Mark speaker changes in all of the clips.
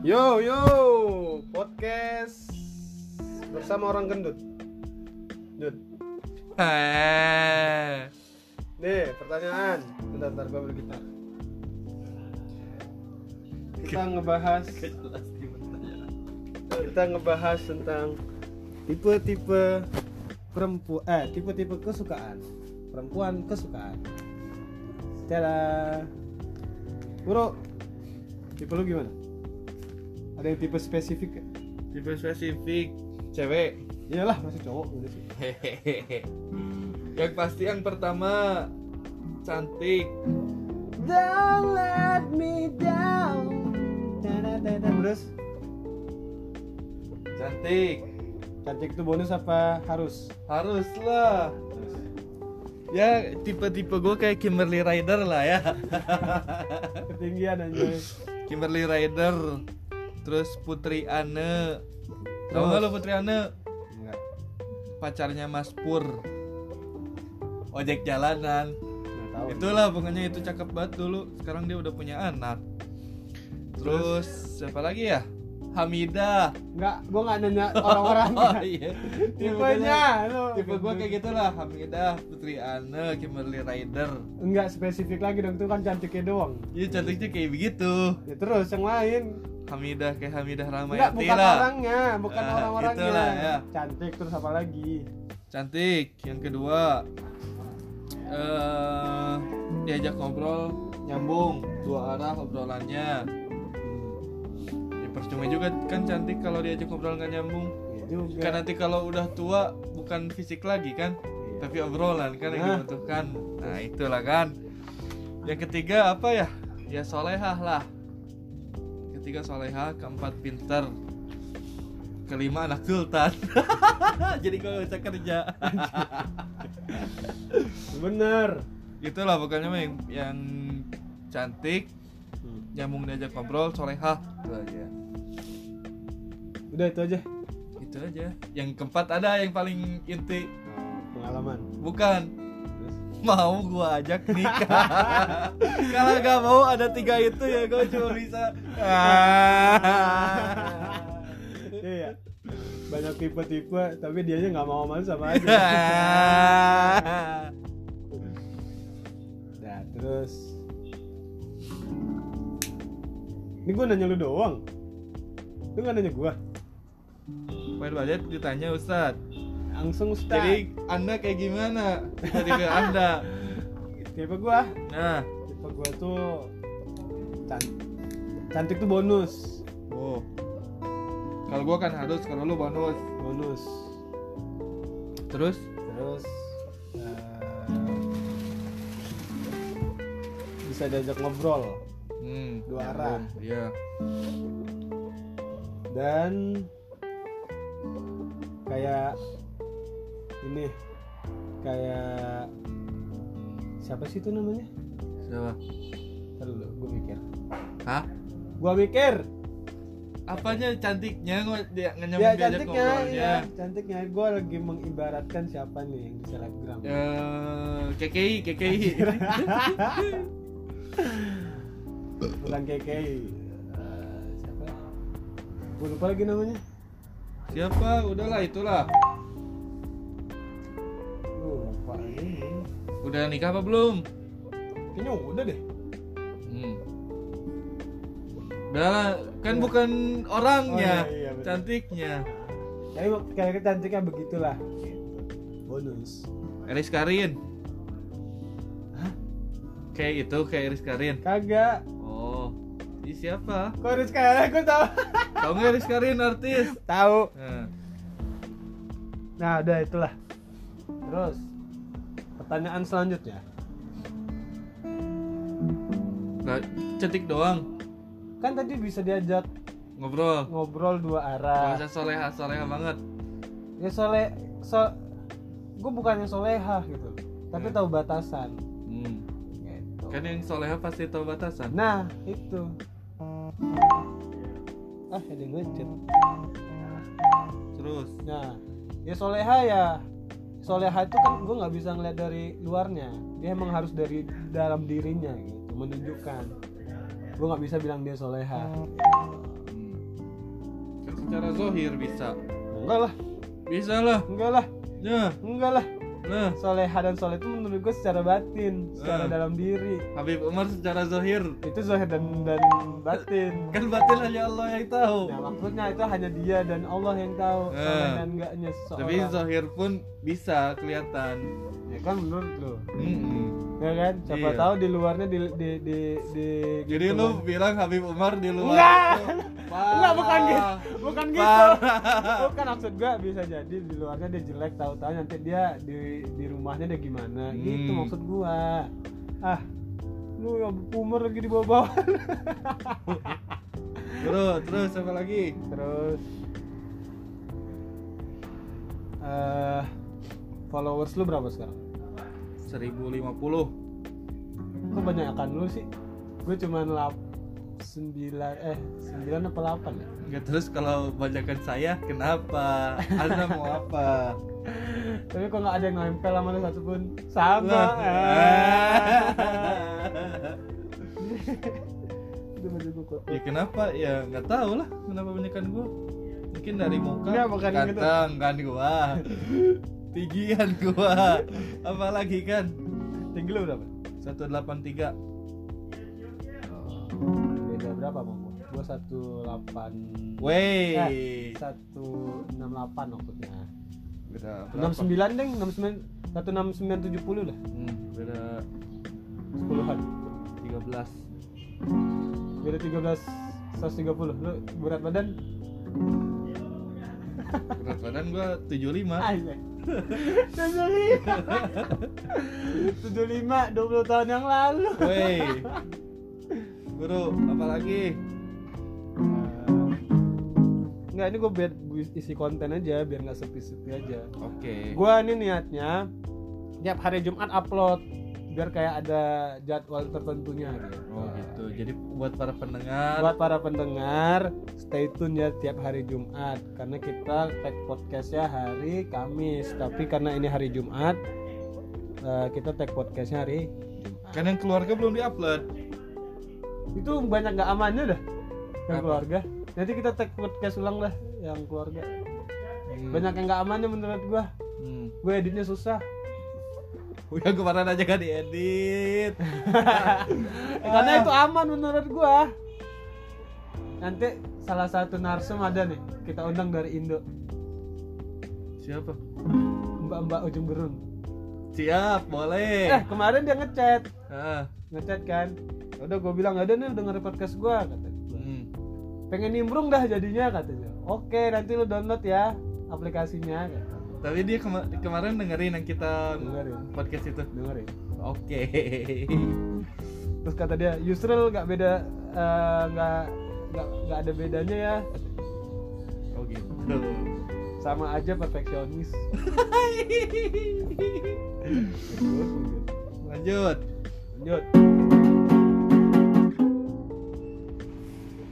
Speaker 1: Yo yo, podcast bersama orang gendut. Dut.
Speaker 2: Eh.
Speaker 1: Nih, pertanyaan. Bentar, bentar gua ambil gitar. Kita ngebahas kita ngebahas tentang tipe-tipe perempuan eh tipe-tipe kesukaan perempuan kesukaan Tada Bro tipe lu gimana ada yang tipe spesifik ya?
Speaker 3: tipe spesifik cewek
Speaker 1: iyalah masih cowok udah sih
Speaker 3: Hehehe. yang pasti yang pertama cantik
Speaker 1: Don't let me down. Nah, Terus
Speaker 3: cantik
Speaker 1: cantik itu bonus apa harus?
Speaker 3: haruslah
Speaker 1: Terus.
Speaker 2: Ya tipe-tipe gue kayak Kimberly Rider lah ya.
Speaker 1: Ketinggian aja.
Speaker 2: Kimberly Rider. Terus Putri Ane. Tahu nggak lo Putri Ane?
Speaker 1: Enggak.
Speaker 2: Pacarnya Mas Pur. Ojek jalanan.
Speaker 1: Enggak tahu.
Speaker 2: Itulah pokoknya itu cakep banget dulu. Sekarang dia udah punya anak. Terus siapa lagi ya? Hamidah.
Speaker 1: Enggak, gua enggak nanya orang-orang.
Speaker 2: iya.
Speaker 1: Tipenya lu.
Speaker 2: Tipe gue kayak gitu. gitulah Hamidah, Putri Ane, Kimberly Rider.
Speaker 1: enggak spesifik lagi dong, itu kan cantiknya doang.
Speaker 2: Iya cantiknya kayak begitu.
Speaker 1: Ya terus yang lain.
Speaker 2: Hamidah kayak Hamidah
Speaker 1: Enggak,
Speaker 2: Ramayati
Speaker 1: bukan
Speaker 2: lah.
Speaker 1: orangnya, bukan
Speaker 2: Ah,
Speaker 1: orang-orangnya.
Speaker 2: itulah, ya.
Speaker 1: Cantik terus apa lagi?
Speaker 2: Cantik. Yang kedua eh diajak ngobrol nyambung dua arah obrolannya. Ya, percuma juga kan cantik kalau diajak ngobrol nggak nyambung.
Speaker 1: Iya juga.
Speaker 2: Kan nanti kalau udah tua bukan fisik lagi kan,
Speaker 1: Iya.
Speaker 2: tapi obrolan kan yang
Speaker 1: Nah.
Speaker 2: dibutuhkan. Nah, itulah kan. Yang ketiga apa ya? Ya solehah lah. Ketiga solehah, keempat pinter, kelima anak sultan. Jadi gue bisa kerja.
Speaker 1: Bener.
Speaker 2: Itulah pokoknya mah yang, yang cantik, nyambung diajak ngobrol, solehah. Itu aja.
Speaker 1: Udah itu aja.
Speaker 2: Itu aja. Yang keempat ada yang paling inti,
Speaker 1: Pengalaman.
Speaker 2: bukan
Speaker 1: Terus.
Speaker 2: mau gua ajak nikah kalau gak mau ada tiga itu ya gua cuma bisa
Speaker 1: iya banyak tipe-tipe tapi dianya nggak mau malu sama aja
Speaker 2: Hahaha.
Speaker 1: nah terus ini gue nanya lu doang lu nggak nanya gue
Speaker 2: Main budget ditanya Ustad.
Speaker 1: langsung Ustaz
Speaker 2: Jadi Anda kayak gimana? Jadi ke Anda.
Speaker 1: tipe gue
Speaker 2: Nah,
Speaker 1: tipe gue tuh cantik cantik tuh bonus
Speaker 2: oh. Kalau gua kan harus, kalau lu bonus.
Speaker 1: bonus
Speaker 2: Terus
Speaker 1: terus eh, bisa diajak ngobrol
Speaker 2: hmm,
Speaker 1: Dua arah.
Speaker 2: Iya.
Speaker 1: dan kayak ini kayak siapa sih itu namanya?
Speaker 2: Siapa?
Speaker 1: Ntar dulu, gue mikir.
Speaker 2: Hah?
Speaker 1: Gua mikir.
Speaker 2: Apanya cantiknya kok dia nggak nyambung
Speaker 1: Ya
Speaker 2: diajak
Speaker 1: cantiknya,
Speaker 2: ngobrolnya?
Speaker 1: ya cantiknya. Gue lagi mengibaratkan siapa nih yang di selebgram.
Speaker 2: Eh, KKI, KKI.
Speaker 1: Bukan KKI. Eh, siapa? Gue lupa lagi namanya.
Speaker 2: Siapa? Udahlah itulah.
Speaker 1: Gua lupa lagi.
Speaker 2: Udah nikah apa belum?
Speaker 1: Kayaknya udah deh.
Speaker 2: Hmm. Udah kan bukan orangnya,
Speaker 1: Oh, iya, iya, betul.
Speaker 2: cantiknya.
Speaker 1: Tapi kayak cantiknya begitulah. Bonus.
Speaker 2: Eris Karin. Kayak itu, kayak Eris Karin.
Speaker 1: Kagak.
Speaker 2: Oh, ini siapa?
Speaker 1: Kok harus kayak gue tahu.
Speaker 2: Tahu nggak Eris Karin artis?
Speaker 1: tahu.
Speaker 2: Nah,
Speaker 1: Nah, udah itulah. Terus pertanyaan selanjutnya.
Speaker 2: nggak cantik doang
Speaker 1: Kan tadi bisa diajak
Speaker 2: ngobrol.
Speaker 1: ngobrol dua arah.
Speaker 2: Bahasa soleha, soleha banget.
Speaker 1: Ya soleh so gue bukannya solehah gitu. Tapi tahu batasan.
Speaker 2: Hmm.
Speaker 1: Gitu.
Speaker 2: Kan yang soleha pasti tahu batasan.
Speaker 1: Nah, itu. Ah, ada yang ngecet.
Speaker 2: Terus,
Speaker 1: Nah, ya soleha ya soleha itu kan gue nggak bisa ngeliat dari luarnya dia emang harus dari dalam dirinya gitu menunjukkan gue nggak bisa bilang dia soleha
Speaker 2: hmm. Kan secara zohir bisa
Speaker 1: enggak lah
Speaker 2: bisa lah
Speaker 1: enggak lah
Speaker 2: nah
Speaker 1: enggak lah
Speaker 2: nah
Speaker 1: soleha dan soleh itu menurut gue secara batin secara
Speaker 2: Eh.
Speaker 1: dalam diri
Speaker 2: Habib Umar secara zohir
Speaker 1: itu zohir dan dan batin
Speaker 2: kan batin hanya Allah yang tahu
Speaker 1: nah maksudnya itu hanya dia dan Allah yang tahu
Speaker 2: Eh.
Speaker 1: soleh dan enggaknya
Speaker 2: tapi
Speaker 1: seseorang
Speaker 2: zohir pun bisa kelihatan
Speaker 1: ya kan menurut lo
Speaker 2: Mm-mm.
Speaker 1: ya kan siapa
Speaker 2: Iya.
Speaker 1: tahu di luarnya di di di, di-
Speaker 2: jadi
Speaker 1: gitu,
Speaker 2: lu
Speaker 1: Bang.
Speaker 2: bilang Habib Umar di luar
Speaker 1: Enggak.
Speaker 2: itu parah.
Speaker 1: Enggak, bukan gitu. bukan gitu bukan maksud gue bisa jadi di luarnya dia jelek tahu-tahu nanti dia di di rumahnya dia gimana gitu
Speaker 2: Hmm.
Speaker 1: maksud gua ah lu ya pumer lagi di bawah-bawah
Speaker 2: terus terus apa lagi
Speaker 1: terus eh followers lu berapa sekarang
Speaker 2: 1050
Speaker 1: lu banyakan lu sih gue cuman lap sembilan eh sembilan apa delapan ya
Speaker 2: Nggak terus kalau bajakan saya kenapa? Anda mau apa?
Speaker 1: tapi kok nggak ada yang nempel sama lu satu pun sama
Speaker 2: Wah.
Speaker 1: itu bener gua kok.
Speaker 2: ya kenapa? Ya nggak tahu lah kenapa banyakan gua. Mungkin dari muka,
Speaker 1: Nggak, bukan gitu.
Speaker 2: ganteng kan gua, tinggian gua, apalagi kan
Speaker 1: tinggi lu berapa
Speaker 2: 183
Speaker 1: beda berapa bang gue satu delapan
Speaker 2: Wey,
Speaker 1: satu enam delapan maksudnya
Speaker 2: beda
Speaker 1: enam
Speaker 2: berapa?
Speaker 1: sembilan deng enam sembilan satu enam sembilan tujuh puluh lah
Speaker 2: Hmm, beda
Speaker 1: sepuluhan
Speaker 2: 13
Speaker 1: beda tiga belas seratus tiga puluh lu berat badan
Speaker 2: berat badan gua
Speaker 1: aja
Speaker 2: 75
Speaker 1: tujuh lima tujuh lima dua puluh tahun yang lalu
Speaker 2: Wey, bro, apalagi?
Speaker 1: Enggak, Nah. ini gue biar gua isi konten aja biar nggak sepi-sepi aja.
Speaker 2: Oke.
Speaker 1: Gua ini niatnya tiap hari Jumat upload biar kayak ada jadwal tertentunya gitu.
Speaker 2: Oh gitu. Jadi buat para pendengar,
Speaker 1: Buat para pendengar, stay tune ya tiap hari Jumat karena kita tag podcastnya hari Kamis. Tapi karena ini hari Jumat, eh, kita tag podcastnya hari Jumat.
Speaker 2: kan yang keluarga belum diupload.
Speaker 1: Itu banyak nggak amannya dah yang
Speaker 2: Apa?
Speaker 1: keluarga. Nanti kita tag podcast ulang lah yang keluarga. Banyak yang nggak amannya menurut gua.
Speaker 2: Hmm.
Speaker 1: Gue editnya susah.
Speaker 2: Udah kemarin aja kan diedit.
Speaker 1: karena itu aman menurut gua nanti salah satu narsum ada nih kita undang dari Indo
Speaker 2: Siapa?
Speaker 1: mbak-mbak ujung berun eh
Speaker 2: Siap, boleh.
Speaker 1: kemarin dia ngechat
Speaker 2: Ah.
Speaker 1: ngechat kan udah gua bilang ada nih denger podcast gua kata
Speaker 2: Hmm.
Speaker 1: pengen nimbrung dah jadinya katanya oke nanti lu download ya aplikasinya kata.
Speaker 2: Tapi dia kema- kemarin dengerin yang kita
Speaker 1: dengerin
Speaker 2: podcast itu.
Speaker 1: dengerin
Speaker 2: Oke.
Speaker 1: terus kata dia Yusril nggak beda eh, nggak nggak nggak ada bedanya ya katanya.
Speaker 2: Oh gitu.
Speaker 1: sama aja perfeksionis
Speaker 2: Lanjut.
Speaker 1: Lanjut.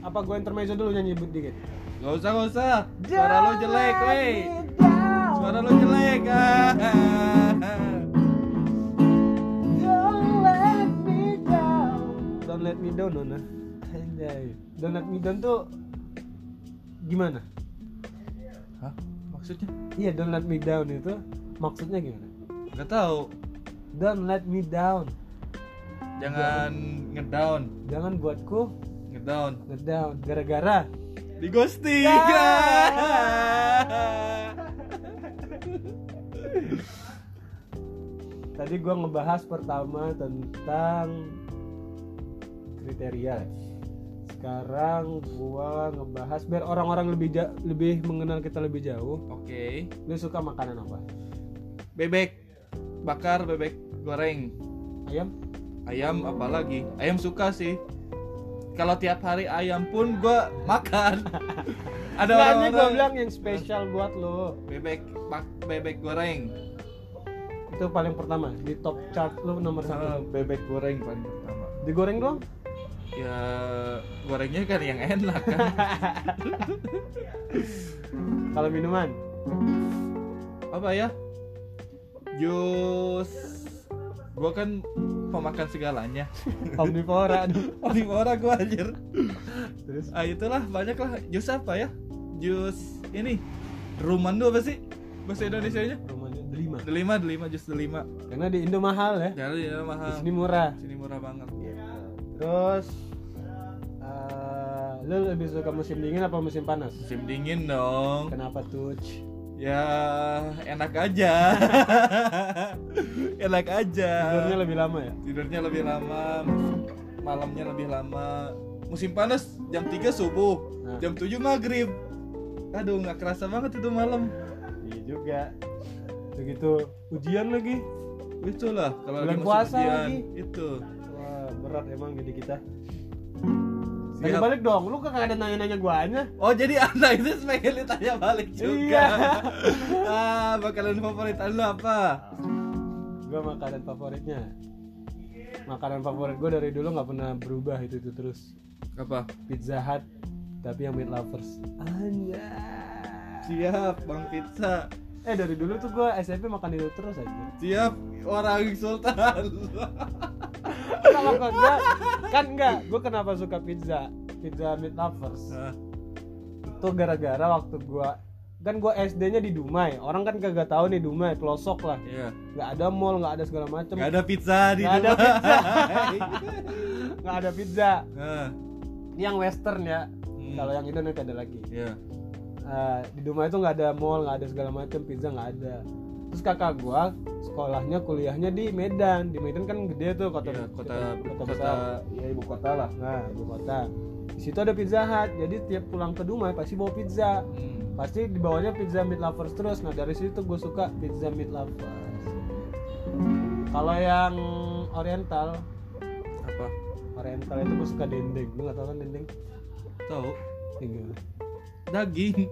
Speaker 1: Apa gue intermezzo dulu nyanyi dikit?
Speaker 2: Gak usah, gak usah. Suara lo jelek, wey. Suara lo jelek. Ah.
Speaker 1: Don't let me down, Nona. Anjay. Don't let me down tuh gimana?
Speaker 2: Hah? Maksudnya?
Speaker 1: Iya, don't let me down itu maksudnya gimana?
Speaker 2: Gak tahu.
Speaker 1: Don't let me down.
Speaker 2: Jangan ngedown,
Speaker 1: Jangan buatku
Speaker 2: ngedown.
Speaker 1: ngedown gara-gara
Speaker 2: Di ghosting.
Speaker 1: tadi gue ngebahas pertama tentang kriteria sekarang gua ngebahas biar orang-orang lebih ja- lebih mengenal kita lebih jauh
Speaker 2: Oke.
Speaker 1: lu suka makanan apa
Speaker 2: Bebek bakar, bebek goreng,
Speaker 1: ayam
Speaker 2: ayam apalagi? Ayam suka sih. Kalau tiap hari ayam pun gua makan. Ada
Speaker 1: Nah, ini gue
Speaker 2: orang-orang
Speaker 1: bilang yang spesial buat lo
Speaker 2: bebek bak- bebek goreng.
Speaker 1: itu paling pertama di top chart lu nomor satu
Speaker 2: Ah, bebek goreng paling pertama.
Speaker 1: digoreng dong
Speaker 2: Ya gorengnya kan yang enak kan.
Speaker 1: kalau minuman
Speaker 2: apa ya jus gua kan pemakan segalanya
Speaker 1: omnivora aduh.
Speaker 2: omnivora gua anjir
Speaker 1: terus
Speaker 2: ah itulah banyak lah jus apa ya jus ini rumen tuh apa sih bahasa Indonesia nya
Speaker 1: rumahnya delima
Speaker 2: delima delima jus delima
Speaker 1: karena di Indo mahal ya
Speaker 2: jadi ya
Speaker 1: di
Speaker 2: mahal
Speaker 1: sini murah
Speaker 2: sini murah banget
Speaker 1: terus eh, lu lebih suka musim dingin apa musim panas
Speaker 2: musim dingin dong
Speaker 1: kenapa tuh Ci?
Speaker 2: ya enak aja enak aja
Speaker 1: tidurnya lebih lama ya
Speaker 2: tidurnya lebih lama malamnya lebih lama musim panas jam 3 subuh
Speaker 1: Nah.
Speaker 2: jam 7 maghrib aduh nggak kerasa banget itu malam
Speaker 1: iya juga begitu ujian lagi
Speaker 2: itulah kalau
Speaker 1: Bulan
Speaker 2: lagi musim
Speaker 1: puasa
Speaker 2: ujian,
Speaker 1: lagi.
Speaker 2: itu
Speaker 1: wah berat emang jadi kita
Speaker 2: Siap.
Speaker 1: Tanya balik dong, lu kagak ada nanya-nanya guanya
Speaker 2: Oh jadi anda itu pengen ditanya
Speaker 1: Iya.
Speaker 2: balik juga ah, Makanan favorit anda apa?
Speaker 1: Gua makanan favoritnya Makanan favorit gue dari dulu nggak pernah berubah itu, itu terus
Speaker 2: Apa?
Speaker 1: Pizza Hut Tapi yang meat lovers Anjay
Speaker 2: Siap Bang Pizza
Speaker 1: Eh dari dulu tuh gue SMP makan itu terus aja
Speaker 2: Siap orang sultan
Speaker 1: Kalau kagak Kan enggak Gue kenapa suka pizza Pizza meat lovers
Speaker 2: Ah,
Speaker 1: itu gara-gara waktu gua kan gua SD-nya di Dumai orang kan kagak tahu nih Dumai pelosok lah
Speaker 2: Iya
Speaker 1: nggak ada mall nggak ada segala macem
Speaker 2: Gak ada pizza di
Speaker 1: Nggak ada
Speaker 2: rumah.
Speaker 1: pizza nggak ada pizza
Speaker 2: Ah,
Speaker 1: ini yang western ya
Speaker 2: hmm,
Speaker 1: kalau yang itu nanti ada lagi
Speaker 2: Iya
Speaker 1: Eh, di Dumai itu nggak ada mall nggak ada segala macem pizza nggak ada terus kakak gua sekolahnya kuliahnya di Medan di Medan kan gede tuh kota
Speaker 2: Iya, kota
Speaker 1: kota
Speaker 2: kota,
Speaker 1: besar
Speaker 2: ya ibu kota lah.
Speaker 1: nah ibu kota di situ ada Pizza Hut jadi tiap pulang ke Dumai pasti bawa pizza
Speaker 2: Hmm.
Speaker 1: pasti dibawanya pizza meat lovers terus nah dari situ gue suka pizza meat lovers kalau yang oriental
Speaker 2: Apa?
Speaker 1: oriental itu gue suka dendeng lu gak tau kan dendeng
Speaker 2: Tahu?
Speaker 1: Enggak.
Speaker 2: Daging.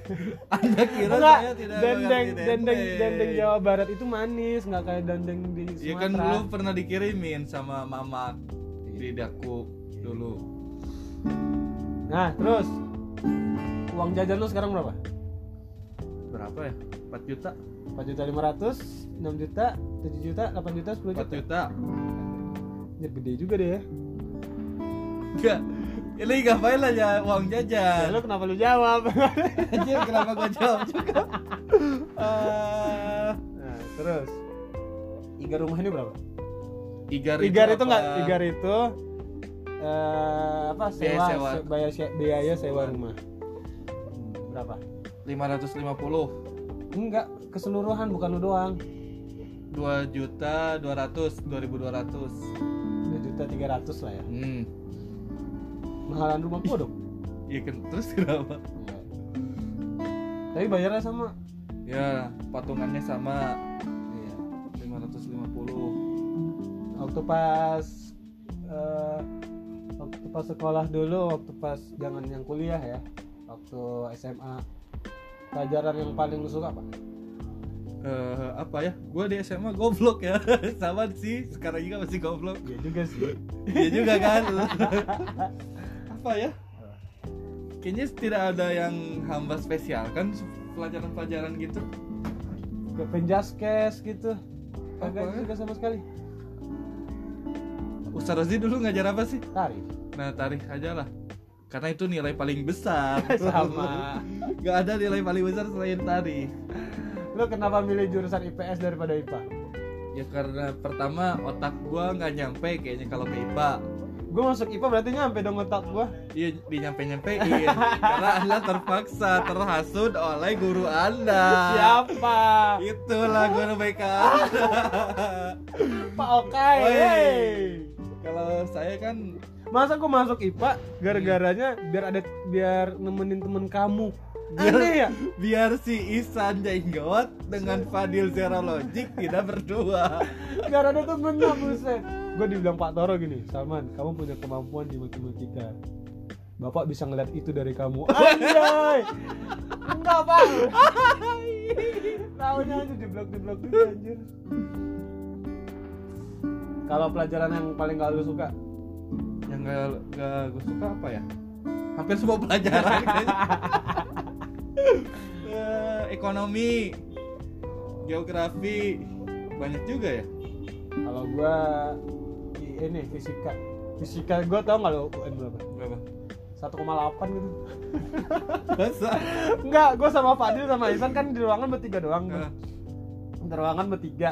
Speaker 2: Anda kira
Speaker 1: Enggak,
Speaker 2: saya Iya, tidak
Speaker 1: dendeng,
Speaker 2: mengerti
Speaker 1: dendeng, dendeng Jawa Barat itu manis, nggak kayak dendeng di
Speaker 2: Iya kan
Speaker 1: Sumatera.
Speaker 2: dulu pernah dikirimin sama mama di daku dulu.
Speaker 1: Nah, terus uang jajan lu sekarang berapa?
Speaker 2: Berapa ya? 4 juta.
Speaker 1: 4 juta 500, 6 juta, 7 juta, 8 juta, 10 juta.
Speaker 2: 4 juta.
Speaker 1: Ya, gede juga deh ya.
Speaker 2: Enggak. Ini ngapain aja uang
Speaker 1: Ya,
Speaker 2: jajan?
Speaker 1: lu kenapa lu jawab?
Speaker 2: Anjir Iya, kenapa gua jawab juga? Eh,
Speaker 1: nah, terus Iga rumah ini berapa?
Speaker 2: Igar,
Speaker 1: Igar itu nggak
Speaker 2: apa?
Speaker 1: Igar itu eh, apa sewa,
Speaker 2: Biaya sewa.
Speaker 1: se- biaya se- biaya sewa rumah Hmm, berapa?
Speaker 2: 550
Speaker 1: Enggak keseluruhan bukan lu doang
Speaker 2: 2 juta 200 2200
Speaker 1: 2 juta tiga lah ya
Speaker 2: hmm
Speaker 1: mahalan rumah gua dong
Speaker 2: iya kan terus kenapa
Speaker 1: tapi bayarnya sama
Speaker 2: ya patungannya sama iya 550
Speaker 1: waktu pas eh, waktu pas sekolah dulu waktu pas jangan yang kuliah ya waktu SMA pelajaran yang paling lu suka apa?
Speaker 2: Eh, apa ya gue di SMA goblok ya sama sih sekarang juga masih goblok
Speaker 1: Iya juga sih
Speaker 2: Iya juga kan apa ya kayaknya tidak ada yang hamba spesial kan pelajaran-pelajaran gitu
Speaker 1: Kayak penjaskes gitu
Speaker 2: Apa
Speaker 1: kagak
Speaker 2: ya?
Speaker 1: juga sama sekali
Speaker 2: Ustaz Rozi dulu ngajar apa sih
Speaker 1: tarif
Speaker 2: nah tarik aja lah karena itu nilai paling besar
Speaker 1: Sama.
Speaker 2: nggak ada nilai paling besar selain tari
Speaker 1: Lu kenapa milih jurusan IPS daripada IPA?
Speaker 2: ya karena pertama otak gua nggak nyampe kayaknya kalau ke IPA
Speaker 1: Gue masuk IPA berarti nyampe dong otak gue
Speaker 2: Iya dinyampe nyampein iya. karena anda terpaksa terhasut oleh guru anda
Speaker 1: Siapa?
Speaker 2: Itulah guru BK.
Speaker 1: Pak Okai
Speaker 2: Woi.
Speaker 1: hey.
Speaker 2: Kalau saya kan
Speaker 1: Masa gue masuk IPA gara-garanya biar ada biar nemenin temen kamu
Speaker 2: Biar-
Speaker 1: Aneh ya?
Speaker 2: biar si Isan Jenggot dengan Fadil Zero Logic tidak berdua.
Speaker 1: Biar ada temennya buset Gue dibilang Pak Toro gini Salman kamu punya kemampuan di matematika Bapak bisa ngeliat itu dari kamu Anjay Enggak pak Tahunya aja di blok di blok dulu anjir Kalau pelajaran yang paling gak lu suka
Speaker 2: Yang gak, gak gue suka apa ya? Hampir semua pelajaran. kayaknya. Eh, ekonomi, geografi, banyak juga ya.
Speaker 1: Kalau gua i- ini fisika Fisika gua tau gak lu UN berapa?
Speaker 2: Berapa?
Speaker 1: 9 1,8 gitu
Speaker 2: Masa?
Speaker 1: Enggak, gue sama Fadil sama Ivan kan di ruangan bertiga doang tuh.
Speaker 2: Nah,
Speaker 1: Di ruangan bertiga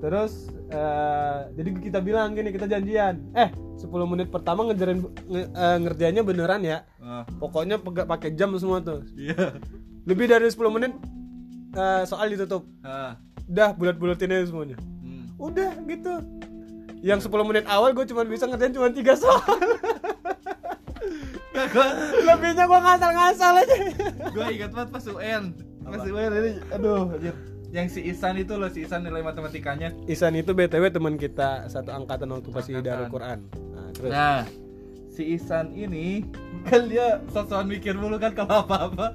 Speaker 1: Terus eh, jadi kita bilang gini kita janjian. Eh 10 menit pertama ngejarin nge- eh, ngerjainnya beneran ya.
Speaker 2: ah,
Speaker 1: Pokoknya pega- pakai jam semua tuh.
Speaker 2: iya.
Speaker 1: Lebih dari 10 menit eh, soal ditutup.
Speaker 2: Ah,
Speaker 1: Dah bulat-bulatin aja semuanya.
Speaker 2: hmm.
Speaker 1: Udah gitu. Yang 10 menit awal gue cuma bisa ngerjain cuma 3 soal. Lebihnya gue ngasal-ngasal aja.
Speaker 2: gue ingat banget pas UN pas
Speaker 1: Apa?
Speaker 2: UN ini aduh anjir yang si Isan itu loh si Isan nilai matematikanya
Speaker 1: Isan itu BTW teman kita satu angkatan waktu pas di Darul
Speaker 2: Angkatan.
Speaker 1: Quran. Nah, terus
Speaker 2: nah si Isan ini kan dia sosokan mikir mulu kan kalau apa apa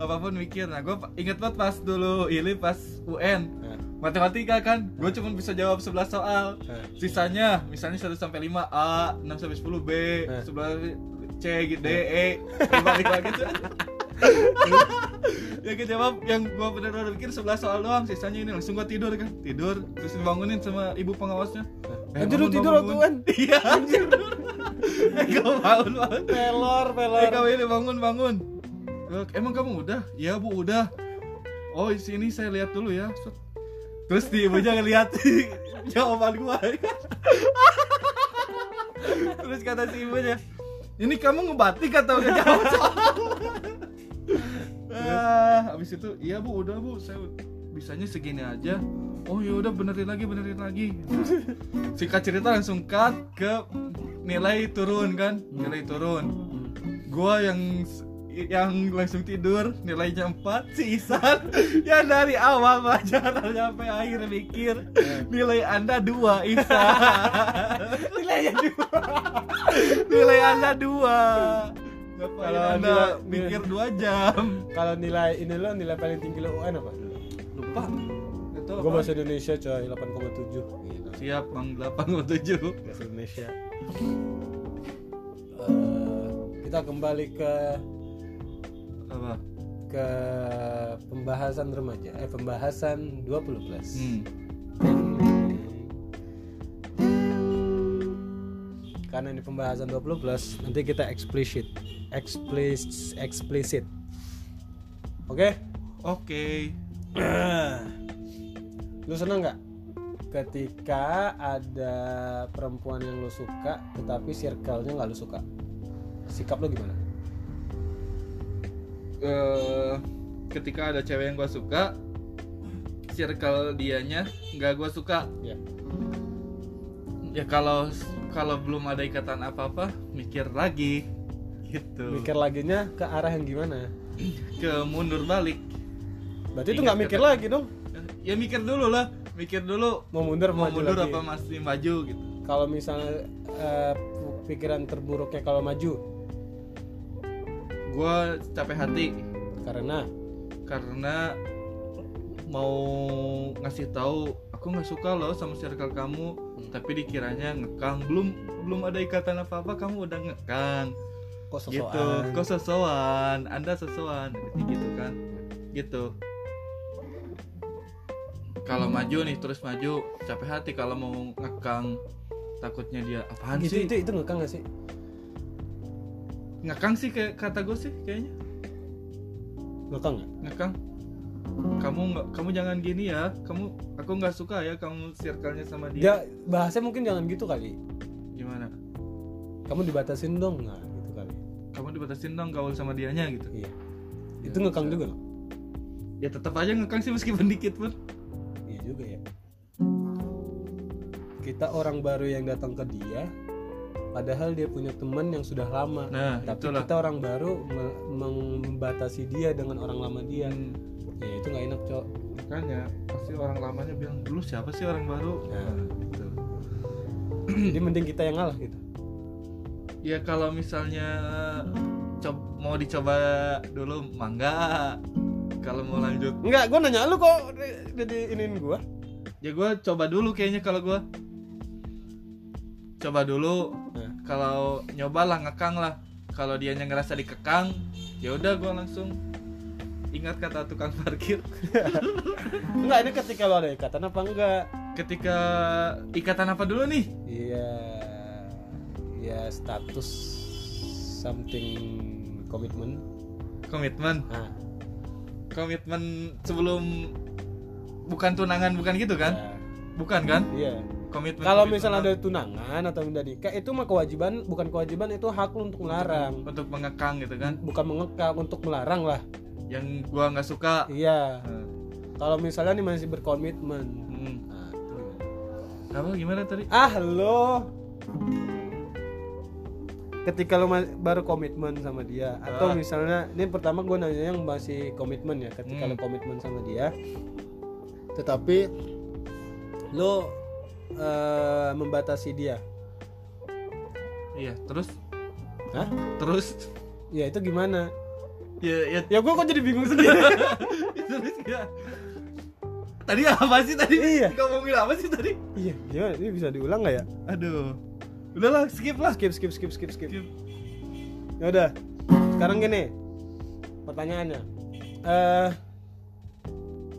Speaker 2: apapun mikir nah gue inget banget pas dulu ini pas UN
Speaker 1: Nah,
Speaker 2: matematika kan gue cuma bisa jawab 11 soal
Speaker 1: nah.
Speaker 2: sisanya misalnya 1 sampai 5 A 6 sampai 10 B
Speaker 1: Eh.
Speaker 2: 11 C gitu D E gitu. balik lagi tuh yang kejawab Ya, yang gua benar-benar pikir 11 soal doang sisanya ini langsung gua tidur kan tidur terus dibangunin sama ibu pengawasnya
Speaker 1: Eh, anjir, lu tidur waktu kan?
Speaker 2: iya anjir eh gua bangun bangun
Speaker 1: Pelor,
Speaker 2: eh kamu ini bangun bangun Eh, emang kamu udah iya bu udah oh di sini saya lihat dulu ya Set. terus di ibunya ngeliat jawaban gua terus kata si ibunya ini kamu ngebatik atau udah jawab soal?" Ah, habis itu iya bu udah bu saya bisanya segini aja oh ya udah benerin lagi benerin lagi singkat cerita langsung cut ke nilai turun kan nilai turun gua yang yang langsung tidur nilainya 4 si Isan yang dari awal pelajaran sampai akhir mikir nilai anda dua Isan
Speaker 1: Nilainya dua.
Speaker 2: nilai anda dua Ngapain
Speaker 1: Kalau
Speaker 2: anda Iya.
Speaker 1: nilai-
Speaker 2: mikir dua jam
Speaker 1: Kalau nilai ini lo nilai paling tinggi lo UN apa?
Speaker 2: lupa itu
Speaker 1: Gue bahasa Indonesia coy, 8,7. Gila,
Speaker 2: siap bang delapan atau tujuh
Speaker 1: Gitu. Bahasa Indonesia. Eh, kita kembali ke
Speaker 2: apa
Speaker 1: ke pembahasan remaja. Eh pembahasan 20 plus.
Speaker 2: hmm.
Speaker 1: Karena ini pembahasan 20 plus, nanti kita explicit. Explicit explicit. Oke?
Speaker 2: oke
Speaker 1: lu seneng nggak ketika ada perempuan yang lu suka tetapi circle-nya nggak lu suka sikap lu gimana
Speaker 2: eh ketika ada cewek yang gua suka circle dianya nggak gua suka
Speaker 1: ya
Speaker 2: ya kalau kalau belum ada ikatan apa apa mikir lagi gitu
Speaker 1: mikir laginya ke arah yang gimana
Speaker 2: ke mundur balik
Speaker 1: berarti itu
Speaker 2: Ingat
Speaker 1: nggak mikir
Speaker 2: kata-
Speaker 1: lagi dong
Speaker 2: ya mikir dulu lah mikir dulu
Speaker 1: mau mundur
Speaker 2: mau
Speaker 1: maju
Speaker 2: mundur
Speaker 1: lagi.
Speaker 2: apa masih maju gitu
Speaker 1: kalau misalnya eh, pikiran terburuknya kalau maju
Speaker 2: gua capek hati
Speaker 1: karena
Speaker 2: karena mau ngasih tahu aku nggak suka loh sama circle kamu
Speaker 1: Hmm.
Speaker 2: tapi dikiranya ngekang belum belum ada ikatan apa apa kamu udah ngekang
Speaker 1: kok
Speaker 2: gitu
Speaker 1: sosokan
Speaker 2: kok sosokan anda sosokan berarti gitu kan gitu kalau maju nih terus maju capek hati kalau mau ngekang takutnya dia apaan
Speaker 1: itu
Speaker 2: Kan sih
Speaker 1: Gitu, itu itu ngekang nggak sih
Speaker 2: ngekang sih kayak kata gue sih kayaknya
Speaker 1: ngekang nggak
Speaker 2: ngekang kamu nggak kamu jangan gini ya kamu aku nggak suka ya kamu circle-nya sama
Speaker 1: dia
Speaker 2: dia
Speaker 1: Ya, bahasnya mungkin jangan gitu kali
Speaker 2: gimana
Speaker 1: kamu dibatasin dong nah gitu kali
Speaker 2: kamu dibatasin dong gaul sama dianya gitu
Speaker 1: iya
Speaker 2: Ya,
Speaker 1: itu ngekang
Speaker 2: bisa.
Speaker 1: juga loh
Speaker 2: ya tetap aja ngekang sih meskipun dikit pun
Speaker 1: Iya juga ya. Kita orang baru yang datang ke dia, padahal dia punya teman yang sudah lama.
Speaker 2: nah
Speaker 1: Tapi
Speaker 2: itulah
Speaker 1: kita orang baru me- membatasi dia dengan orang lama dia.
Speaker 2: Hmm.
Speaker 1: Ya itu nggak enak, Cok.
Speaker 2: makanya pasti orang lamanya bilang dulu siapa sih orang baru
Speaker 1: Nah.
Speaker 2: Nah, gitu.
Speaker 1: Jadi mending kita yang ngalah gitu.
Speaker 2: ya kalau misalnya cob- mau dicoba dulu mangga kalau mau lanjut
Speaker 1: Enggak, gua nanya lu kok jadi iniin gua.
Speaker 2: ya gue coba dulu kayaknya kalau gue coba dulu
Speaker 1: Nah.
Speaker 2: kalau nyoba lah ngekang lah kalau dia ngerasa dikekang ya udah gue langsung ingat kata tukang parkir
Speaker 1: Enggak, ini ketika lo ada ikatan apa enggak?
Speaker 2: ketika ikatan apa dulu nih
Speaker 1: Iya. Ya status something komitmen
Speaker 2: komitmen
Speaker 1: nah
Speaker 2: komitmen sebelum bukan tunangan bukan gitu kan
Speaker 1: ya.
Speaker 2: bukan kan
Speaker 1: iya
Speaker 2: komitmen gitu kan
Speaker 1: kalau
Speaker 2: komitmen
Speaker 1: misalnya ada tunangan atau udah nikah itu mah kewajiban bukan kewajiban itu hak lu untuk melarang
Speaker 2: untuk mengekang gitu kan
Speaker 1: bukan mengekang untuk melarang lah
Speaker 2: yang gua nggak suka
Speaker 1: iya
Speaker 2: Nah,
Speaker 1: kalau misalnya nih masih berkomitmen
Speaker 2: hmm.
Speaker 1: Nah,
Speaker 2: apa gimana tadi
Speaker 1: ah lo ketika lo ma- baru komitmen sama dia atau
Speaker 2: Ah.
Speaker 1: misalnya ini pertama gue nanya yang masih komitmen ya ketika
Speaker 2: Hmm.
Speaker 1: lo komitmen sama dia tetapi lo eh, membatasi dia
Speaker 2: iya terus
Speaker 1: Hah?
Speaker 2: terus
Speaker 1: ya itu gimana
Speaker 2: ya ya
Speaker 1: ya gue kok jadi bingung sendiri
Speaker 2: terus ya tadi apa sih tadi
Speaker 1: Iya.
Speaker 2: ngomongin apa sih tadi
Speaker 1: iya gimana ini bisa diulang nggak ya
Speaker 2: aduh udahlah skip lah
Speaker 1: skip skip skip skip skip
Speaker 2: skip
Speaker 1: ya udah sekarang gini pertanyaannya eh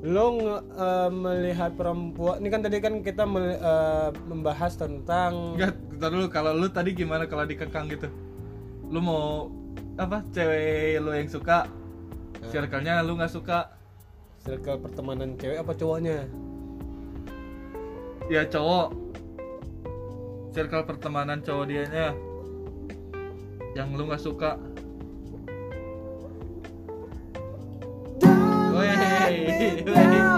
Speaker 1: lo nge- eh, melihat perempuan ini kan tadi kan kita mel- eh, membahas tentang
Speaker 2: Enggak, bentar dulu kalau lu tadi gimana kalau dikekang gitu? Lu mau apa cewek lu yang suka
Speaker 1: Eh.
Speaker 2: circle-nya lu nggak suka
Speaker 1: circle pertemanan cewek apa cowoknya
Speaker 2: ya cowok circle pertemanan cowok dianya yang lu nggak suka Wey, wey.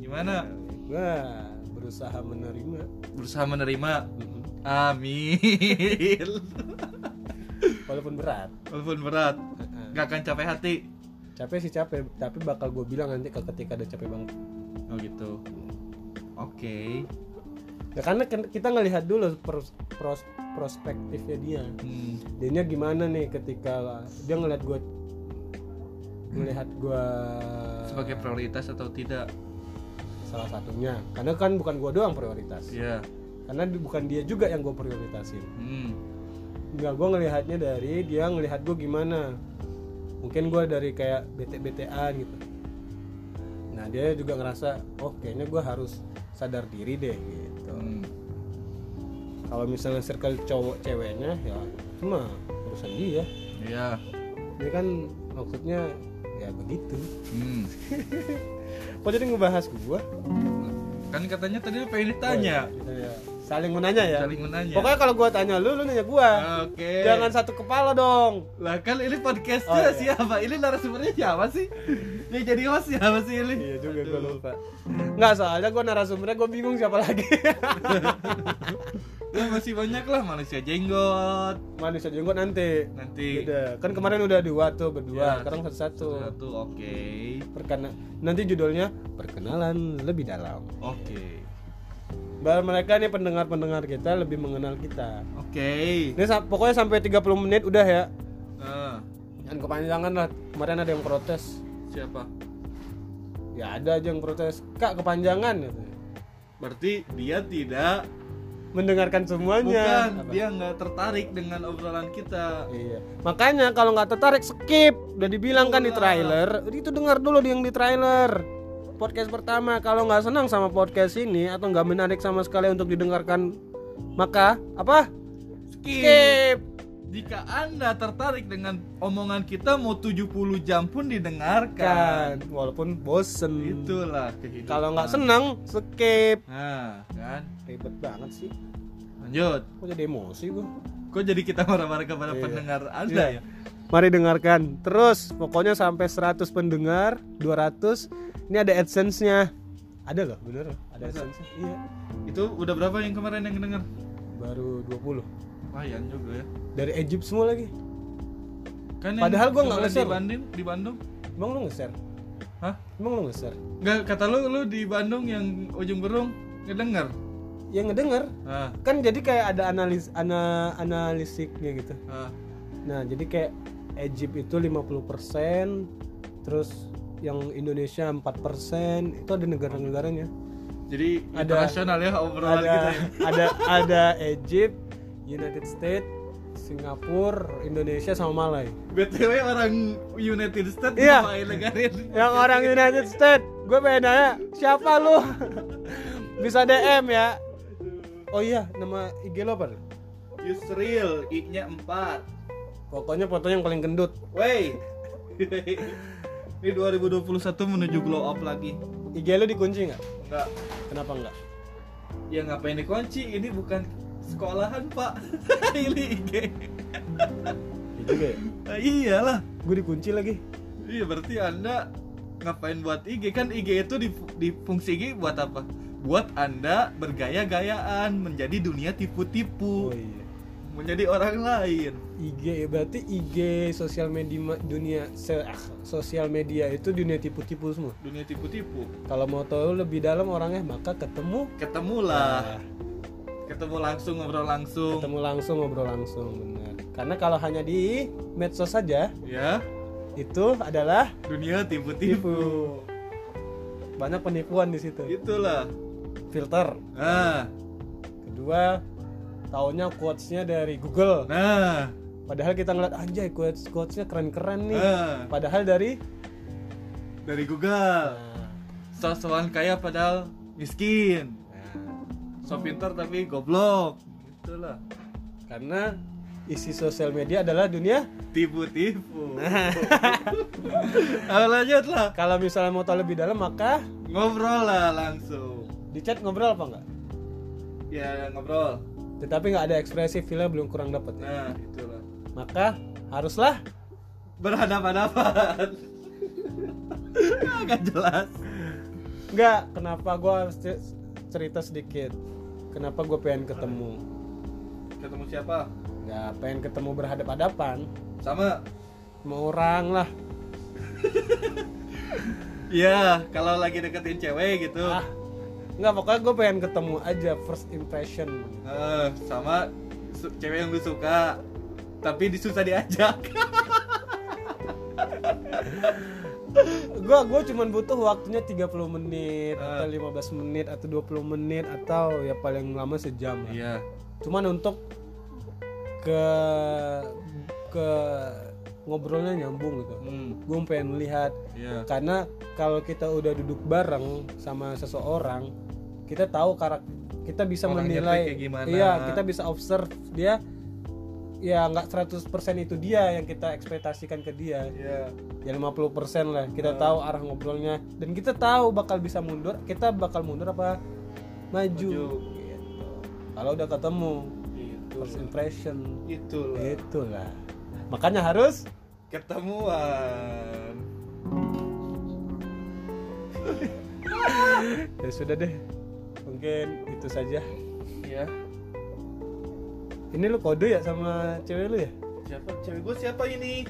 Speaker 2: gimana
Speaker 1: Wah, berusaha menerima
Speaker 2: berusaha menerima amin
Speaker 1: walaupun berat
Speaker 2: walaupun berat nggak akan capek hati
Speaker 1: capek sih capek tapi bakal gue bilang nanti kalau ketika ada capek banget
Speaker 2: oh gitu oke
Speaker 1: ya karena ken- kita ngelihat dulu pros- pros- prospektifnya dia
Speaker 2: Hmm.
Speaker 1: dia gimana nih ketika dia ngelihat gue ngelihat gue
Speaker 2: sebagai prioritas atau tidak
Speaker 1: salah satunya karena kan bukan gue doang prioritas
Speaker 2: ya
Speaker 1: karena di- bukan dia juga yang gue prioritasin
Speaker 2: hmm.
Speaker 1: nggak gue ngelihatnya dari dia ngelihat gue gimana mungkin gue dari kayak bete betean gitu nah dia juga ngerasa oh kayaknya gue harus sadar diri deh gitu
Speaker 2: Hmm.
Speaker 1: kalau misalnya circle cowok ceweknya ya cuma urusan dia
Speaker 2: ya
Speaker 1: dia kan maksudnya ya begitu
Speaker 2: hmm.
Speaker 1: kok jadi ngebahas gua
Speaker 2: kan katanya tadi lu pengen ditanya
Speaker 1: Oh, gitu ya. saling menanya ya
Speaker 2: saling menanya
Speaker 1: pokoknya kalau gua tanya lu lu nanya gua
Speaker 2: Ah, oke
Speaker 1: jangan satu kepala dong
Speaker 2: lah kan ini
Speaker 1: Oh,
Speaker 2: podcastnya
Speaker 1: iya.
Speaker 2: siapa ini narasumbernya siapa sih yang jadi host siapa sih ini
Speaker 1: iya juga
Speaker 2: Aduh.
Speaker 1: gua lupa nggak soalnya gua narasumbernya gua bingung siapa lagi
Speaker 2: Ya, masih banyak lah manusia jenggot
Speaker 1: manusia jenggot nanti Iya.
Speaker 2: nanti
Speaker 1: beda kan kemarin udah dua tuh
Speaker 2: Ya,
Speaker 1: berdua sekarang satu satu
Speaker 2: satu oke
Speaker 1: perkena nanti judulnya perkenalan lebih dalam
Speaker 2: oke
Speaker 1: biar mereka nih pendengar-pendengar kita lebih mengenal kita
Speaker 2: oke
Speaker 1: ini sa- pokoknya sampai 30 menit udah ya
Speaker 2: Ah,
Speaker 1: jangan kepanjangan lah kemarin ada yang protes
Speaker 2: siapa
Speaker 1: ya ada aja yang protes kak kepanjangan gitu.
Speaker 2: berarti dia tidak
Speaker 1: mendengarkan semuanya
Speaker 2: bukan dia nggak tertarik dengan obrolan kita
Speaker 1: iya makanya kalau nggak tertarik skip udah dibilang kan di
Speaker 2: Ulah.
Speaker 1: trailer itu dengar dulu yang di trailer podcast pertama kalau nggak senang sama podcast ini atau nggak menarik sama sekali untuk didengarkan maka apa
Speaker 2: skip
Speaker 1: skip
Speaker 2: Jika Anda tertarik dengan omongan kita mau 70 jam pun didengarkan.
Speaker 1: kan walaupun
Speaker 2: Gitu.
Speaker 1: bosen
Speaker 2: Itulah kehidupan.
Speaker 1: Kan. kalau nggak senang skip
Speaker 2: Nah, kan.
Speaker 1: ribet banget sih
Speaker 2: Lanjut.
Speaker 1: kok jadi emosi gua
Speaker 2: Kok jadi kita marah-marah kepada
Speaker 1: Iya.
Speaker 2: pendengar Anda
Speaker 1: Iya.
Speaker 2: ya?
Speaker 1: Mari dengarkan terus pokoknya sampai 100 pendengar, 200 ini ada AdSense-nya. Ada loh, bener loh, ada
Speaker 2: Masa?
Speaker 1: AdSense. Iya.
Speaker 2: Itu udah berapa yang kemarin yang denger?
Speaker 1: Baru 20.
Speaker 2: Lumayan juga ya.
Speaker 1: Dari Egypt semua lagi.
Speaker 2: Kan
Speaker 1: Padahal gua nggak
Speaker 2: kemarin
Speaker 1: nge-share
Speaker 2: di
Speaker 1: loh.
Speaker 2: Bandung, di Bandung.
Speaker 1: Emang lu nge-share?
Speaker 2: Hah?
Speaker 1: Emang lu nge-share?
Speaker 2: Enggak, kata lu lu di Bandung yang ujung berung ngedenger.
Speaker 1: Ya ngedenger.
Speaker 2: Ah,
Speaker 1: Kan jadi kayak ada analis ana, analisiknya gitu.
Speaker 2: ah.
Speaker 1: Nah, jadi kayak Egypt itu 50%, terus yang Indonesia 4%, itu ada negara-negaranya. Ada-
Speaker 2: Jadi
Speaker 1: gitu
Speaker 2: internasional ya
Speaker 1: ada
Speaker 2: obrolan kita. ya.
Speaker 1: ada ada Egypt, United States, Singapura, Indonesia sama Malai.
Speaker 2: BTW orang United States
Speaker 1: Iya.
Speaker 2: ngapain dengerin?
Speaker 1: Yang orang United States, gue pengen nanya siapa lu? Bisa DM ya. Oh iya, nama IG lo apa?
Speaker 3: Yusril, I-nya 4.
Speaker 1: Pokoknya fotonya yang paling gendut.
Speaker 3: Wey.
Speaker 2: Ini 2021 menuju glow up lagi.
Speaker 1: IG lo dikunci nggak?
Speaker 3: Enggak.
Speaker 1: Kenapa nggak?
Speaker 3: Ya ngapain dikunci? Ini bukan sekolahan, Pak. ini IG.
Speaker 1: Iya juga ya.
Speaker 2: Ah, iyalah.
Speaker 1: Gue dikunci lagi.
Speaker 2: Iya berarti anda ngapain buat IG kan IG itu di, di fungsi IG buat apa? Buat anda bergaya-gayaan menjadi
Speaker 1: Oh
Speaker 2: dunia tipu-tipu
Speaker 1: iya.
Speaker 2: menjadi orang lain.
Speaker 1: IG ya, berarti IG sosial media dunia se- ah, sosial media itu dunia tipu-tipu semua.
Speaker 2: Dunia tipu-tipu.
Speaker 1: Kalau mau tahu lebih dalam orangnya maka ketemu Nah,
Speaker 2: Ketemulah, ketemu langsung ngobrol langsung.
Speaker 1: ketemu langsung ngobrol langsung benar. Karena kalau hanya di medsos saja
Speaker 2: Ya,
Speaker 1: itu adalah
Speaker 2: dunia tipu-tipu.
Speaker 1: tipu. Banyak penipuan di situ.
Speaker 2: Itulah.
Speaker 1: Filter.
Speaker 2: Nah,
Speaker 1: Kedua, taunya quotes-nya dari Google.
Speaker 2: nah,
Speaker 1: Padahal kita ngeliat anjay quotes quotes-nya keren-keren nih.
Speaker 2: nah.
Speaker 1: Padahal dari
Speaker 2: dari Google. Soal-soalan kaya padahal miskin.
Speaker 1: Nah,
Speaker 2: So pintar tapi goblok. Itulah.
Speaker 1: karena isi sosial media adalah dunia
Speaker 2: tipu-tipu. Nah, Ah, lanjut lah,
Speaker 1: kalau misalnya mau tahu lebih dalam maka
Speaker 2: ngobrol lah langsung.
Speaker 1: di chat ngobrol apa enggak
Speaker 2: Ya ngobrol.
Speaker 1: tetapi nggak ada ekspresi feelnya belum kurang dapat ya.
Speaker 2: Nah itulah.
Speaker 1: maka haruslah
Speaker 2: Berhadapan-hadapan. Agak jelas.
Speaker 1: nggak kenapa gue harus ce- cerita sedikit kenapa gue pengen ketemu
Speaker 3: Ketemu siapa?
Speaker 1: nggak pengen ketemu berhadap-hadapan
Speaker 3: Sama
Speaker 1: mau orang lah
Speaker 2: Ya kalau lagi deketin cewek gitu.
Speaker 1: ah nggak pokoknya gue pengen ketemu aja first impression
Speaker 2: Eh, sama su- cewek yang lu suka tapi di- susah diajak.
Speaker 1: gue gue cuman butuh waktunya 30 menit atau 15 menit atau 20 menit atau ya paling lama sejam lah.
Speaker 2: Iya.
Speaker 1: cuman untuk ke ke ngobrolnya nyambung gitu
Speaker 2: Hmm.
Speaker 1: gue pengen lihat
Speaker 2: Iya.
Speaker 1: karena kalau kita udah duduk bareng sama seseorang kita tahu karakter kita bisa
Speaker 2: Orangnya
Speaker 1: menilai
Speaker 2: kayak gimana.
Speaker 1: iya kita bisa observe dia ya nggak 100% itu dia yang kita ekspektasikan ke dia
Speaker 3: ya
Speaker 1: ya 50% lah kita
Speaker 2: Iya.
Speaker 1: tahu arah ngobrolnya dan kita tahu bakal bisa mundur kita bakal mundur apa maju, Gitu. kalau udah ketemu
Speaker 3: itu.
Speaker 1: first impression
Speaker 3: Gitu.
Speaker 1: Iya.
Speaker 3: Itulah.
Speaker 1: itulah makanya harus
Speaker 3: Ketemuan.
Speaker 1: ya sudah deh mungkin itu saja
Speaker 3: Ya.
Speaker 1: ini lu kode ya sama cewek lu ya
Speaker 3: Siapa cewek gue siapa ini?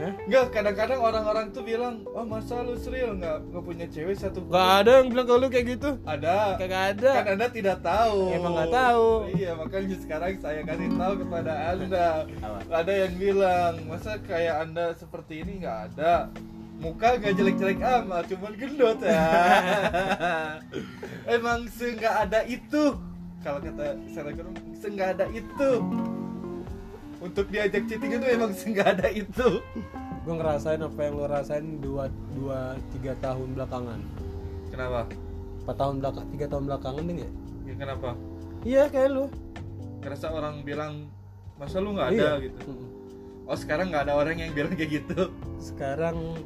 Speaker 1: Hah?
Speaker 3: Enggak, kadang-kadang orang-orang tuh bilang, "Oh, masa lu serial enggak enggak punya cewek satu pun?"
Speaker 1: Gak ada yang bilang ke lu kayak gitu
Speaker 3: Ada.
Speaker 1: Kagak ada
Speaker 3: Kan Anda tidak tahu.
Speaker 1: Iya. Emang nggak tahu.
Speaker 3: Iya, makanya sekarang saya kasih tahu kepada Anda.
Speaker 1: Apa?
Speaker 3: Ada yang bilang, "Masa kayak Anda seperti ini enggak ada?" Muka gak jelek-jelek amat, cuman gendut ya. Emang seenggak ada itu. Kalau kata Seragun, seenggak ada itu. Untuk diajak chatting itu emang seenggak ada itu.
Speaker 1: Gue ngerasain apa yang lu rasain 2, 2 3 tahun belakangan
Speaker 3: Kenapa?
Speaker 1: 4 tahun belakang 3 tahun belakangan deh ya
Speaker 3: Ya, kenapa?
Speaker 1: Iya kayak lu
Speaker 3: Kerasa orang bilang masa lu nggak ada
Speaker 1: Iya.
Speaker 3: gitu.
Speaker 1: Mm-mm.
Speaker 3: Oh sekarang nggak ada orang yang bilang kayak gitu.
Speaker 1: Sekarang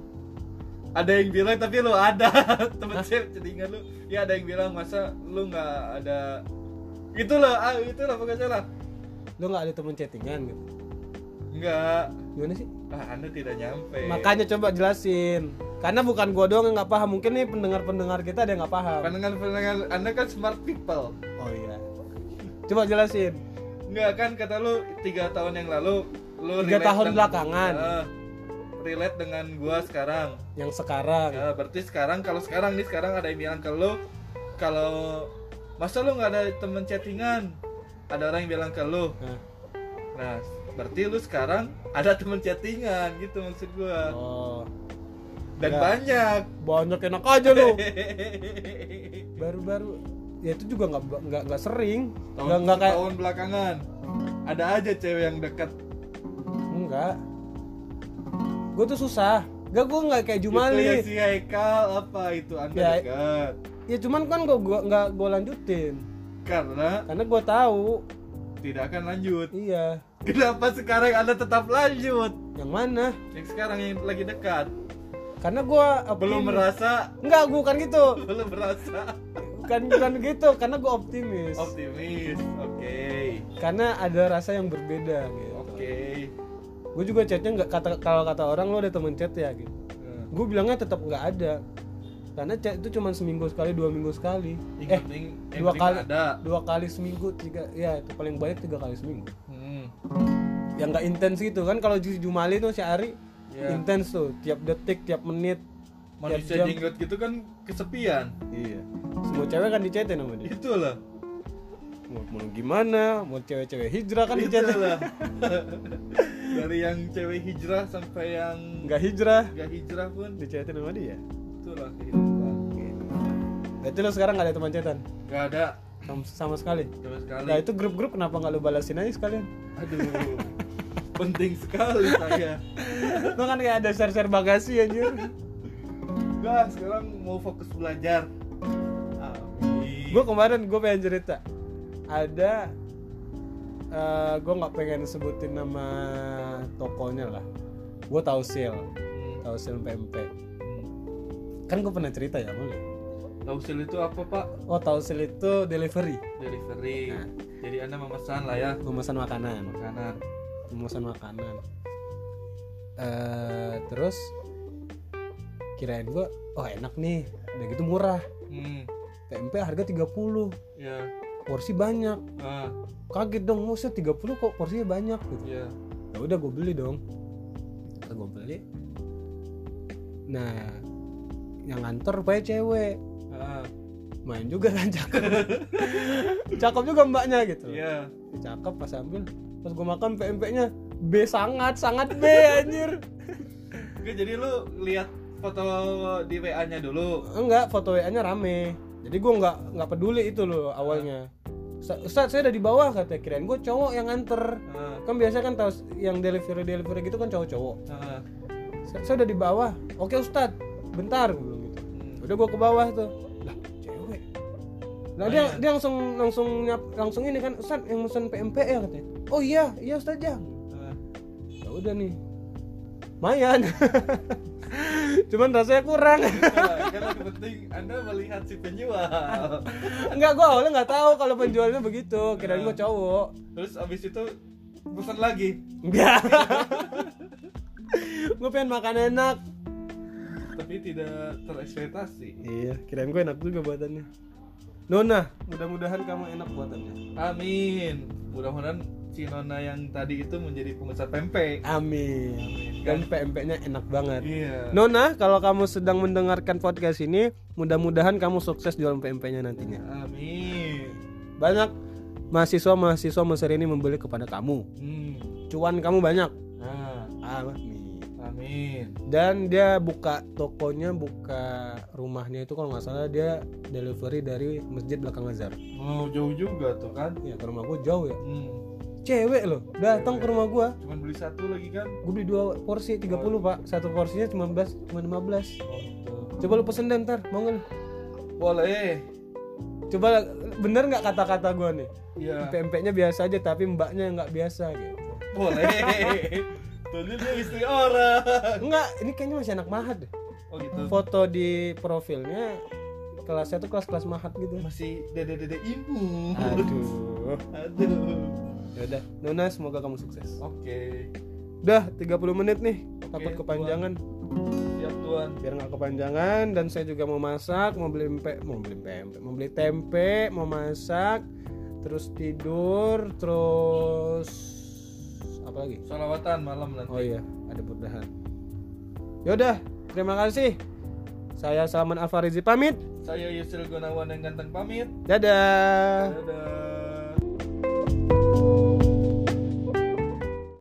Speaker 3: Ada yang bilang tapi lu ada temen saya chattingan lu. Ya ada yang bilang masa lu nggak ada. Itulah, ah, itulah pokoknya lah.
Speaker 1: lu nggak ada temen chattingan gitu
Speaker 3: Nggak,
Speaker 1: gimana sih
Speaker 3: ah, anda tidak nyampe.
Speaker 1: makanya coba jelasin karena bukan gua doang yang nggak paham mungkin nih pendengar pendengar kita ada yang nggak paham
Speaker 3: Pandangan pandangan anda kan smart people.
Speaker 1: oh iya coba jelasin
Speaker 3: Nggak kan kata lu tiga tahun yang lalu lu
Speaker 1: tiga
Speaker 3: relate
Speaker 1: tahun
Speaker 3: dengan-
Speaker 1: belakangan
Speaker 3: Ah, relate dengan gua sekarang.
Speaker 1: yang
Speaker 2: Iya.
Speaker 1: sekarang
Speaker 3: Ya, berarti sekarang kalau sekarang nih sekarang ada yang bilang ke lu kalau masa lu nggak ada temen chattingan ada orang yang bilang ke lu
Speaker 1: Nah,
Speaker 3: nah berarti lu sekarang ada temen chattingan gitu maksud gua
Speaker 1: oh
Speaker 3: dan
Speaker 1: Ya.
Speaker 3: banyak
Speaker 1: banyak enak aja lu baru-baru ya itu juga nggak nggak nggak sering
Speaker 3: tahun
Speaker 1: nggak nggak kayak
Speaker 3: tahun belakangan
Speaker 2: ada aja cewek yang deket
Speaker 1: enggak gue tuh susah gak gue nggak kayak Jumali
Speaker 2: Itu ya si Haikal apa itu anda
Speaker 1: Ya.
Speaker 2: deket
Speaker 1: ya cuman kan gue gua nggak gue lanjutin
Speaker 2: karena
Speaker 1: karena gue tahu
Speaker 2: tidak akan lanjut
Speaker 1: iya
Speaker 2: kenapa sekarang anda tetap lanjut
Speaker 1: yang mana
Speaker 2: yang sekarang yang lagi dekat
Speaker 1: karena gue
Speaker 2: belum merasa
Speaker 1: enggak gue bukan gitu
Speaker 2: belum merasa
Speaker 1: bukan bukan gitu karena gue optimis
Speaker 2: optimis oke
Speaker 1: karena ada rasa yang berbeda gitu
Speaker 2: oke
Speaker 1: gue juga chatnya nggak kata kalau kata orang lo ada temen chat ya gitu
Speaker 2: Nah,
Speaker 1: gue bilangnya tetap nggak ada karena chat itu cuma seminggu sekali dua minggu sekali
Speaker 2: yang
Speaker 1: eh
Speaker 2: penting yang
Speaker 1: dua
Speaker 2: penting
Speaker 1: kali
Speaker 2: ada
Speaker 1: dua kali seminggu tiga ya itu paling banyak tiga kali seminggu
Speaker 2: Hmm.
Speaker 1: yang nggak intens gitu kan kalau di Jumali tuh si Ari
Speaker 2: Iya.
Speaker 1: intens tuh tiap detik tiap menit tiap
Speaker 2: manusia
Speaker 1: jam
Speaker 2: jenggot gitu kan kesepian
Speaker 1: iya semua cewek kan dicetin sama dia
Speaker 2: itulah
Speaker 1: mau, mau gimana mau cewek-cewek hijrah kan dicetin
Speaker 2: itulah dari yang cewek hijrah sampai yang
Speaker 1: nggak hijrah
Speaker 2: nggak hijrah pun
Speaker 1: dicetin sama dia
Speaker 2: itulah kehidupan
Speaker 1: berarti lo sekarang nggak ada teman cetan
Speaker 2: nggak ada
Speaker 1: sama, sama sekali
Speaker 2: sama sekali
Speaker 1: nah itu grup-grup kenapa nggak lo balasin aja sekalian
Speaker 2: aduh penting sekali saya
Speaker 1: lo kan kayak ada share-share bagasi anjir
Speaker 2: Udah, sekarang mau fokus belajar. Amin.
Speaker 1: gue kemarin gue pengen cerita ada eh gue nggak pengen sebutin nama tokonya lah gue tahu sil tahu sil PMP kan gue pernah cerita ya boleh
Speaker 2: Tausil itu apa pak?
Speaker 1: oh tahu sil itu delivery
Speaker 2: Delivery.
Speaker 1: Nah.
Speaker 2: Jadi anda memesan lah ya
Speaker 1: memesan makanan
Speaker 2: makanan.
Speaker 1: memesan makanan eh terus kirain gue oh enak nih udah gitu murah
Speaker 2: Hmm.
Speaker 1: PMP harga 30
Speaker 2: Ya.
Speaker 1: porsi banyak
Speaker 2: Ah.
Speaker 1: kaget dong "Oh, musuh 30 kok porsinya banyak gitu
Speaker 2: Ya.
Speaker 1: ya udah gue beli dong kata gue beli nah yang nganter rupanya cewek
Speaker 2: Ah.
Speaker 1: main juga kan cakep cakep juga mbaknya gitu
Speaker 2: Ya.
Speaker 1: cakep pas ambil pas gue makan PMP nya B sangat sangat B anjir
Speaker 2: Oke, jadi lu lihat foto di WA nya dulu.
Speaker 1: enggak foto WA nya rame jadi gue nggak nggak peduli itu loh awalnya Ustaz, Ustaz, saya udah di bawah kata kirain gue cowok yang nganter
Speaker 2: Ah.
Speaker 1: kan biasanya kan tahu yang delivery delivery gitu kan cowok-cowok
Speaker 2: Ah.
Speaker 1: saya, saya udah di bawah oke Ustadz bentar gue bilang gitu
Speaker 2: Hmm.
Speaker 1: udah gua ke bawah tuh lah cewek lah dia
Speaker 2: Banyak.
Speaker 1: dia langsung langsung nyap, langsung ini kan Ustadz yang pesan PMP ya katanya oh iya iya Ustadz ya
Speaker 2: Ah.
Speaker 1: ya udah nih lumayan cuman rasanya kurang
Speaker 2: Nah, Kan yang penting anda melihat si penjual.
Speaker 1: nggak gua awalnya nggak tahu kalau penjualnya begitu kirain gua cowok
Speaker 2: Terus abis itu pesan lagi.
Speaker 1: enggak gua pengen makan enak
Speaker 2: Tapi tidak terekspektasi.
Speaker 1: iya kirain gua enak juga buatannya Nona, mudah-mudahan kamu enak buatannya.
Speaker 2: Amin. Mudah-mudahan si Nona yang tadi itu menjadi pengusaha pempek.
Speaker 1: Amin.
Speaker 2: Kan?
Speaker 1: Dan PMP-nya enak banget.
Speaker 2: Iya.
Speaker 1: Nona, kalau kamu sedang mendengarkan podcast ini, mudah-mudahan kamu sukses jualan PMP-nya nantinya.
Speaker 2: Amin.
Speaker 1: Banyak mahasiswa-mahasiswa Mesir ini membeli kepada kamu.
Speaker 2: Hmm.
Speaker 1: Cuan kamu banyak.
Speaker 2: Nah,
Speaker 1: Amin.
Speaker 2: amin.
Speaker 1: Dan dia buka tokonya, buka rumahnya itu kalau nggak salah dia delivery dari masjid belakang Azhar.
Speaker 2: Mau jauh juga tuh kan.
Speaker 1: Ya ke rumah gue jauh ya.
Speaker 2: Hmm.
Speaker 1: Cewek loh, datang ke rumah gue.
Speaker 2: Cuman beli satu lagi kan.
Speaker 1: Gue beli dua porsi, 30 pak. Satu porsinya cuma 15, cuma 15.
Speaker 2: Oh, gitu.
Speaker 1: Coba lu pesen deh ntar, mau nggak? lu?
Speaker 2: Boleh.
Speaker 1: Coba bener nggak kata-kata gue nih?
Speaker 2: Iya.
Speaker 1: PMP-nya biasa aja tapi mbaknya yang nggak biasa gitu.
Speaker 2: Boleh. Tadi dia istri orang.
Speaker 1: Enggak, ini kayaknya masih anak mahat deh.
Speaker 2: Oh gitu.
Speaker 1: Foto di profilnya kelasnya tuh kelas-kelas mahat gitu.
Speaker 2: Masih dede-dede ibu.
Speaker 1: Aduh.
Speaker 2: Aduh.
Speaker 1: Yaudah, Nona Ya semoga kamu sukses.
Speaker 2: Oke.
Speaker 1: Udah 30 menit nih, takut
Speaker 2: Oke,
Speaker 1: kepanjangan.
Speaker 2: Siap tuan.
Speaker 1: Biar nggak kepanjangan dan saya juga mau masak, mau beli pempek, mau beli pempek, mau beli tempe, mau masak, terus tidur, terus apa lagi?
Speaker 2: Salawatan malam nanti.
Speaker 1: Oh iya, ada berdahan. Yaudah, terima kasih. Saya Salman Alfarizi pamit.
Speaker 2: Saya Yusril Gunawan yang ganteng pamit.
Speaker 1: Dadah.
Speaker 2: Dadah.